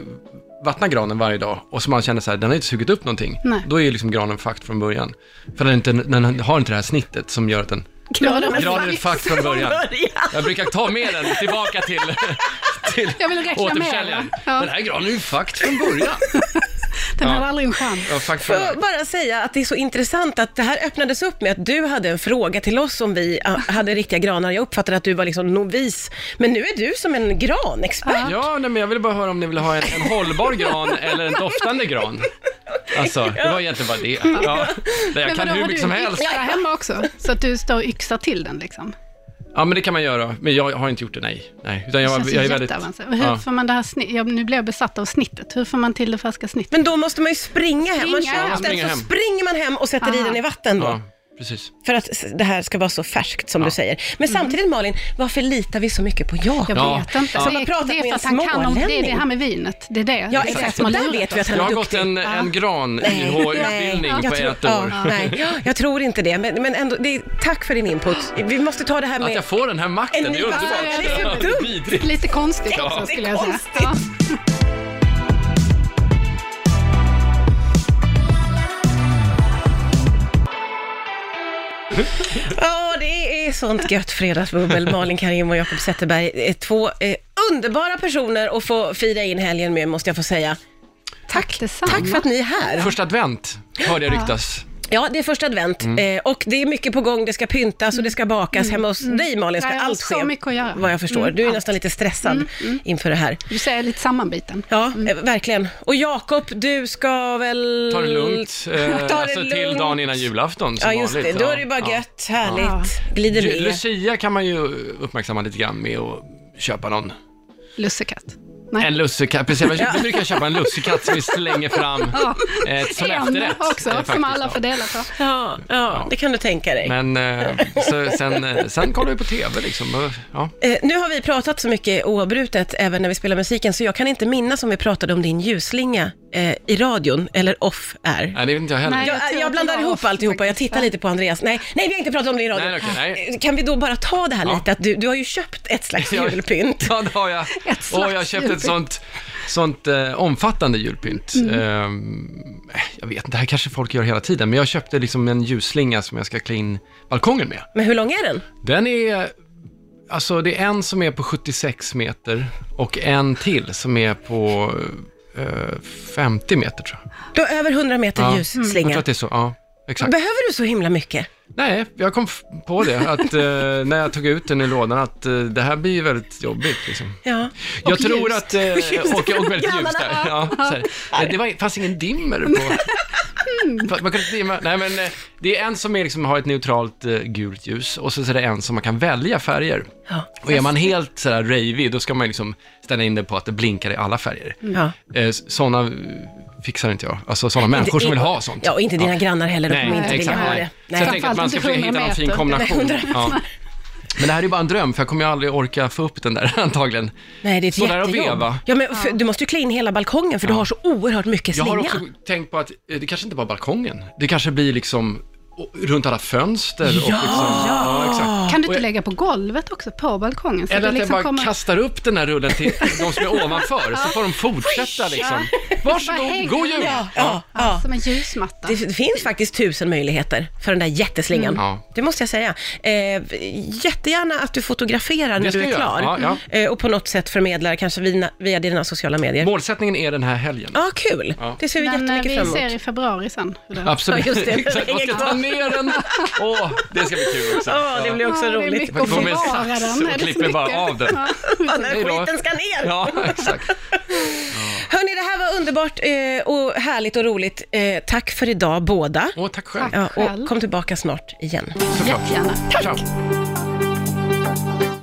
[SPEAKER 4] vattna granen varje dag och så man känner så här, den har inte sugit upp någonting.
[SPEAKER 3] Nej.
[SPEAKER 4] Då är ju liksom granen fakt från början. För den, är inte, den har inte det här snittet som gör att den...
[SPEAKER 2] Granen,
[SPEAKER 4] Granen är fakt från början. Jag brukar ta med den tillbaka till, till
[SPEAKER 3] Jag vill reklamera.
[SPEAKER 4] återförsäljaren.
[SPEAKER 3] Ja.
[SPEAKER 4] Den här granen är ju fakt från början.
[SPEAKER 3] Den
[SPEAKER 4] Ja.
[SPEAKER 3] hade aldrig en chans.
[SPEAKER 4] Ja, fakt från
[SPEAKER 2] Får jag
[SPEAKER 4] början.
[SPEAKER 2] bara säga att det är så intressant att det här öppnades upp med att du hade en fråga till oss om vi ah, hade riktiga granar. Jag uppfattade att du var liksom novis, men nu är du som en granexpert.
[SPEAKER 4] Ja, nej, men jag ville bara höra om ni vill ha en, en hållbar gran eller en doftande gran. Alltså, det var egentligen bara det. Ja. Jag kan
[SPEAKER 3] vadå,
[SPEAKER 4] hur
[SPEAKER 3] har
[SPEAKER 4] mycket
[SPEAKER 3] du
[SPEAKER 4] som
[SPEAKER 3] en
[SPEAKER 4] helst.
[SPEAKER 3] yxa hemma också? Så att du står och yxar till den liksom?
[SPEAKER 4] Ja, men det kan man göra. Men jag har inte gjort det, nej. nej. Utan
[SPEAKER 3] Det
[SPEAKER 4] jag,
[SPEAKER 3] känns
[SPEAKER 4] jag är
[SPEAKER 3] ju
[SPEAKER 4] väldigt...
[SPEAKER 3] jätteavancerat. Hur
[SPEAKER 4] Ja.
[SPEAKER 3] får man det här snitt, ja, nu blir jag besatt av snittet. Hur får man till det färska snittet?
[SPEAKER 2] Men då måste man ju springa hem. Man
[SPEAKER 3] Springa
[SPEAKER 2] kör
[SPEAKER 3] hem.
[SPEAKER 2] upp den,
[SPEAKER 4] Springa
[SPEAKER 2] så
[SPEAKER 4] hem.
[SPEAKER 2] springer man hem och sätter i
[SPEAKER 3] Ah.
[SPEAKER 2] den i vatten då.
[SPEAKER 4] Ja, precis.
[SPEAKER 2] För att s- det här ska vara så färskt som du säger. Men
[SPEAKER 3] Mm.
[SPEAKER 2] samtidigt Malin, varför litar vi så mycket på Jakob?
[SPEAKER 3] Jag
[SPEAKER 4] Ja.
[SPEAKER 3] vet inte.
[SPEAKER 4] Ja.
[SPEAKER 2] Som har pratat
[SPEAKER 3] det är
[SPEAKER 2] med
[SPEAKER 3] för
[SPEAKER 2] en
[SPEAKER 3] att han kan om, det är det
[SPEAKER 2] smålänning.
[SPEAKER 3] här med vinet. Det är det.
[SPEAKER 2] Ja,
[SPEAKER 3] det är det
[SPEAKER 2] exakt.
[SPEAKER 3] som har
[SPEAKER 2] Och där
[SPEAKER 3] lurat
[SPEAKER 2] vet vi att
[SPEAKER 3] oss.
[SPEAKER 2] han
[SPEAKER 4] Jag
[SPEAKER 2] är
[SPEAKER 4] har gått
[SPEAKER 2] duktig.
[SPEAKER 4] en, en gran-YH-utbildning
[SPEAKER 2] nej, jag
[SPEAKER 4] på
[SPEAKER 2] tror-
[SPEAKER 4] ett år.
[SPEAKER 2] Ja, nej, jag tror inte det. Men, men ändå, det är, tack för din input. Vi måste ta det här
[SPEAKER 4] Att
[SPEAKER 2] med...
[SPEAKER 4] jag får den här makten,
[SPEAKER 2] En
[SPEAKER 4] det är underbart.
[SPEAKER 2] ny värld, det är så
[SPEAKER 4] Ja,
[SPEAKER 2] dumt.
[SPEAKER 4] vidrigt.
[SPEAKER 3] Lite konstigt
[SPEAKER 2] Ja.
[SPEAKER 3] också skulle jag säga.
[SPEAKER 2] Jättekonstigt.
[SPEAKER 3] Ja.
[SPEAKER 2] Ja, det är sånt gött fredagsbubbel. Malin Karim och Jakob Zetterberg är två eh, underbara personer att få fira in helgen med, måste jag få säga. Tack,
[SPEAKER 3] detsamma.
[SPEAKER 2] tack för att ni är här.
[SPEAKER 4] Första advent hörde jag ryktas.
[SPEAKER 2] Ja, det är första advent
[SPEAKER 4] Mm.
[SPEAKER 2] eh, och det är mycket på gång. Det ska pyntas och det ska bakas. Hemma hos dig Malin ska
[SPEAKER 3] Ja, Mm. jag har
[SPEAKER 2] allt
[SPEAKER 3] så
[SPEAKER 2] ske,
[SPEAKER 3] mycket att göra.
[SPEAKER 2] vad jag förstår.
[SPEAKER 3] Mm,
[SPEAKER 2] Du är
[SPEAKER 3] allt. Mm,
[SPEAKER 2] nästan lite stressad inför det här.
[SPEAKER 3] Du säger lite sammanbiten.
[SPEAKER 2] Ja, eh, verkligen. Och Jakob, du ska väl...
[SPEAKER 4] Ta det lugnt, eh,
[SPEAKER 2] Mm. Ta det
[SPEAKER 4] alltså till
[SPEAKER 2] lugnt.
[SPEAKER 4] dagen innan julafton som
[SPEAKER 2] Ja, just det.
[SPEAKER 4] vanligt.
[SPEAKER 2] Då
[SPEAKER 4] Ja,
[SPEAKER 2] är det ju
[SPEAKER 4] ja.
[SPEAKER 2] bara gött, härligt, glider
[SPEAKER 4] Ju-
[SPEAKER 2] med.
[SPEAKER 4] Lucia kan man ju uppmärksamma lite grann med att köpa någon.
[SPEAKER 3] Lussekatt. Nej.
[SPEAKER 4] En lussekatt, precis. Jag jag brukar köpa en lussekatt som vi slänger fram eh, som efterrätt.
[SPEAKER 3] också,
[SPEAKER 4] eh, faktiskt,
[SPEAKER 3] som alla
[SPEAKER 4] ja.
[SPEAKER 3] får dela på.
[SPEAKER 2] Ja, ja, det kan du tänka dig.
[SPEAKER 4] Men eh, så, sen, eh, sen kollar vi på TV liksom. och, Ja.
[SPEAKER 2] Eh, nu har vi pratat så mycket oavbrutet, även när vi spelar musiken, så jag kan inte minnas om vi pratade om din ljusslinga eh, i radion, eller off-air.
[SPEAKER 4] Nej, det vet inte jag heller.
[SPEAKER 3] Nej.
[SPEAKER 2] Jag,
[SPEAKER 3] jag tror
[SPEAKER 2] jag,
[SPEAKER 3] att det
[SPEAKER 2] blandar
[SPEAKER 3] var
[SPEAKER 2] ihop
[SPEAKER 3] off,
[SPEAKER 2] alltihopa, jag
[SPEAKER 3] faktiskt.
[SPEAKER 2] tittar lite på Andreas. Nej, nej vi har inte pratat om det i radion.
[SPEAKER 4] Nej, okej, nej.
[SPEAKER 2] Eh, Kan vi då bara ta det här
[SPEAKER 4] Ja.
[SPEAKER 2] lite, att du, du har ju köpt ett slags
[SPEAKER 4] Ja.
[SPEAKER 2] julpynt.
[SPEAKER 4] Ja, det har jag.
[SPEAKER 3] Ett slags
[SPEAKER 4] Och jag har köpt ett
[SPEAKER 3] julpynt. Mm.
[SPEAKER 4] sånt, sånt eh, omfattande julpynt. Ehm, jag vet inte, det här kanske folk gör hela tiden, men jag köpte liksom en ljusslinga som jag ska klä in balkongen med.
[SPEAKER 2] Men hur lång är den?
[SPEAKER 4] Den är, alltså det är en som är på 76 meter och en till som är på eh, 50 meter tror jag.
[SPEAKER 2] Du har över 100 meter
[SPEAKER 4] Ja. Jag
[SPEAKER 2] ljusslinga.
[SPEAKER 3] Mm.
[SPEAKER 4] tror att det är så, ja. Exakt.
[SPEAKER 2] Behöver du så himla mycket?
[SPEAKER 4] Nej, jag kom f- på det, att eh, när jag tog ut den i lådan, att eh, det här blir ju väldigt jobbigt liksom.
[SPEAKER 2] Ja.
[SPEAKER 4] Jag
[SPEAKER 3] Och
[SPEAKER 4] tror
[SPEAKER 3] ljust.
[SPEAKER 4] att... Eh, och, och väldigt ljust där. Ja, så här. Eh, Det var, fanns ingen dimmer på...
[SPEAKER 2] Mm.
[SPEAKER 4] Fa- Man kunde inte dimma. Nej, men eh, det är en som är, liksom, har ett neutralt eh, gult ljus och så är det en som man kan välja färger.
[SPEAKER 2] Ja.
[SPEAKER 4] Och är man helt sådär ravey, då ska man liksom ställa in det på att det blinkar i alla färger.
[SPEAKER 2] Ja.
[SPEAKER 4] Eh, s- sådana eh, fixar inte jag. Alltså sådana människor som vill ha sånt.
[SPEAKER 2] Ja, och inte dina grannar heller, de
[SPEAKER 4] Nej,
[SPEAKER 2] kommer inte vilja
[SPEAKER 4] exakt.
[SPEAKER 2] ha
[SPEAKER 4] nej.
[SPEAKER 2] det.
[SPEAKER 4] Så jag tänker att man ska försöka hitta någon fin kombination.
[SPEAKER 2] Nej, 100
[SPEAKER 4] Ja. Men det här är ju bara en dröm, för jag kommer ju aldrig orka få upp den där antagligen.
[SPEAKER 2] Nej, det är ett
[SPEAKER 4] Stå där och
[SPEAKER 2] jättejobb.
[SPEAKER 4] veva.
[SPEAKER 2] Ja, men för, du måste ju klä in hela balkongen för du har så oerhört mycket
[SPEAKER 4] Jag
[SPEAKER 2] slinga.
[SPEAKER 4] har också tänkt på att eh, det kanske inte bara är balkongen. Det kanske blir liksom o- runt alla fönster och liksom... Ja, exakt.
[SPEAKER 3] Kan du inte
[SPEAKER 4] Och jag-
[SPEAKER 3] lägga på golvet också, på balkongen? Så
[SPEAKER 4] Eller
[SPEAKER 3] det
[SPEAKER 4] att
[SPEAKER 3] liksom
[SPEAKER 4] jag bara
[SPEAKER 3] kommer...
[SPEAKER 4] kastar upp den här rullen till de som är ovanför, så får de fortsätta liksom.
[SPEAKER 3] Bara häng-
[SPEAKER 4] Varsågod, god jul!
[SPEAKER 3] Ja.
[SPEAKER 2] Ja, ja.
[SPEAKER 3] Ja, som en ljusmatta.
[SPEAKER 2] Det f- finns faktiskt tusen möjligheter för den där jätteslingan.
[SPEAKER 4] Mm. Ja.
[SPEAKER 2] Det måste jag säga. Eh, jättegärna att du fotograferar när
[SPEAKER 4] ska
[SPEAKER 2] du är
[SPEAKER 4] jag göra.
[SPEAKER 2] klar.
[SPEAKER 4] Ja,
[SPEAKER 2] Eh, och på något sätt förmedlar, kanske via, via dina sociala medier.
[SPEAKER 4] Målsättningen är den här helgen.
[SPEAKER 2] Ja, kul.
[SPEAKER 4] Ja.
[SPEAKER 2] Det ser vi
[SPEAKER 3] Men eh,
[SPEAKER 2] jättemycket
[SPEAKER 3] vi
[SPEAKER 2] fram
[SPEAKER 3] ser
[SPEAKER 2] emot.
[SPEAKER 3] i februari sen. hur det-
[SPEAKER 4] Absolut.
[SPEAKER 2] Ja, just det.
[SPEAKER 4] Exakt, man ska
[SPEAKER 2] Hänger
[SPEAKER 4] ta
[SPEAKER 2] kvar.
[SPEAKER 4] ner den. Åh, det ska bli kul också.
[SPEAKER 2] Ja, det blir också
[SPEAKER 3] Ja, det är
[SPEAKER 2] roligt.
[SPEAKER 3] mycket att
[SPEAKER 4] Får med en
[SPEAKER 3] bevara
[SPEAKER 4] sax
[SPEAKER 3] den. Är
[SPEAKER 4] och
[SPEAKER 3] det så
[SPEAKER 4] klipper bara
[SPEAKER 3] mycket?
[SPEAKER 4] av den.
[SPEAKER 3] Ja.
[SPEAKER 2] Fan, den här
[SPEAKER 4] Hej då.
[SPEAKER 2] skiten ska ner.
[SPEAKER 4] Ja, exakt.
[SPEAKER 2] Hörni, det här var underbart eh, och härligt och roligt. Eh, tack för idag båda.
[SPEAKER 4] Åh, tack själv.
[SPEAKER 2] Ja, och
[SPEAKER 3] Själv.
[SPEAKER 2] kom tillbaka snart igen.
[SPEAKER 4] Såklart.
[SPEAKER 3] Jättegärna.
[SPEAKER 4] Ciao.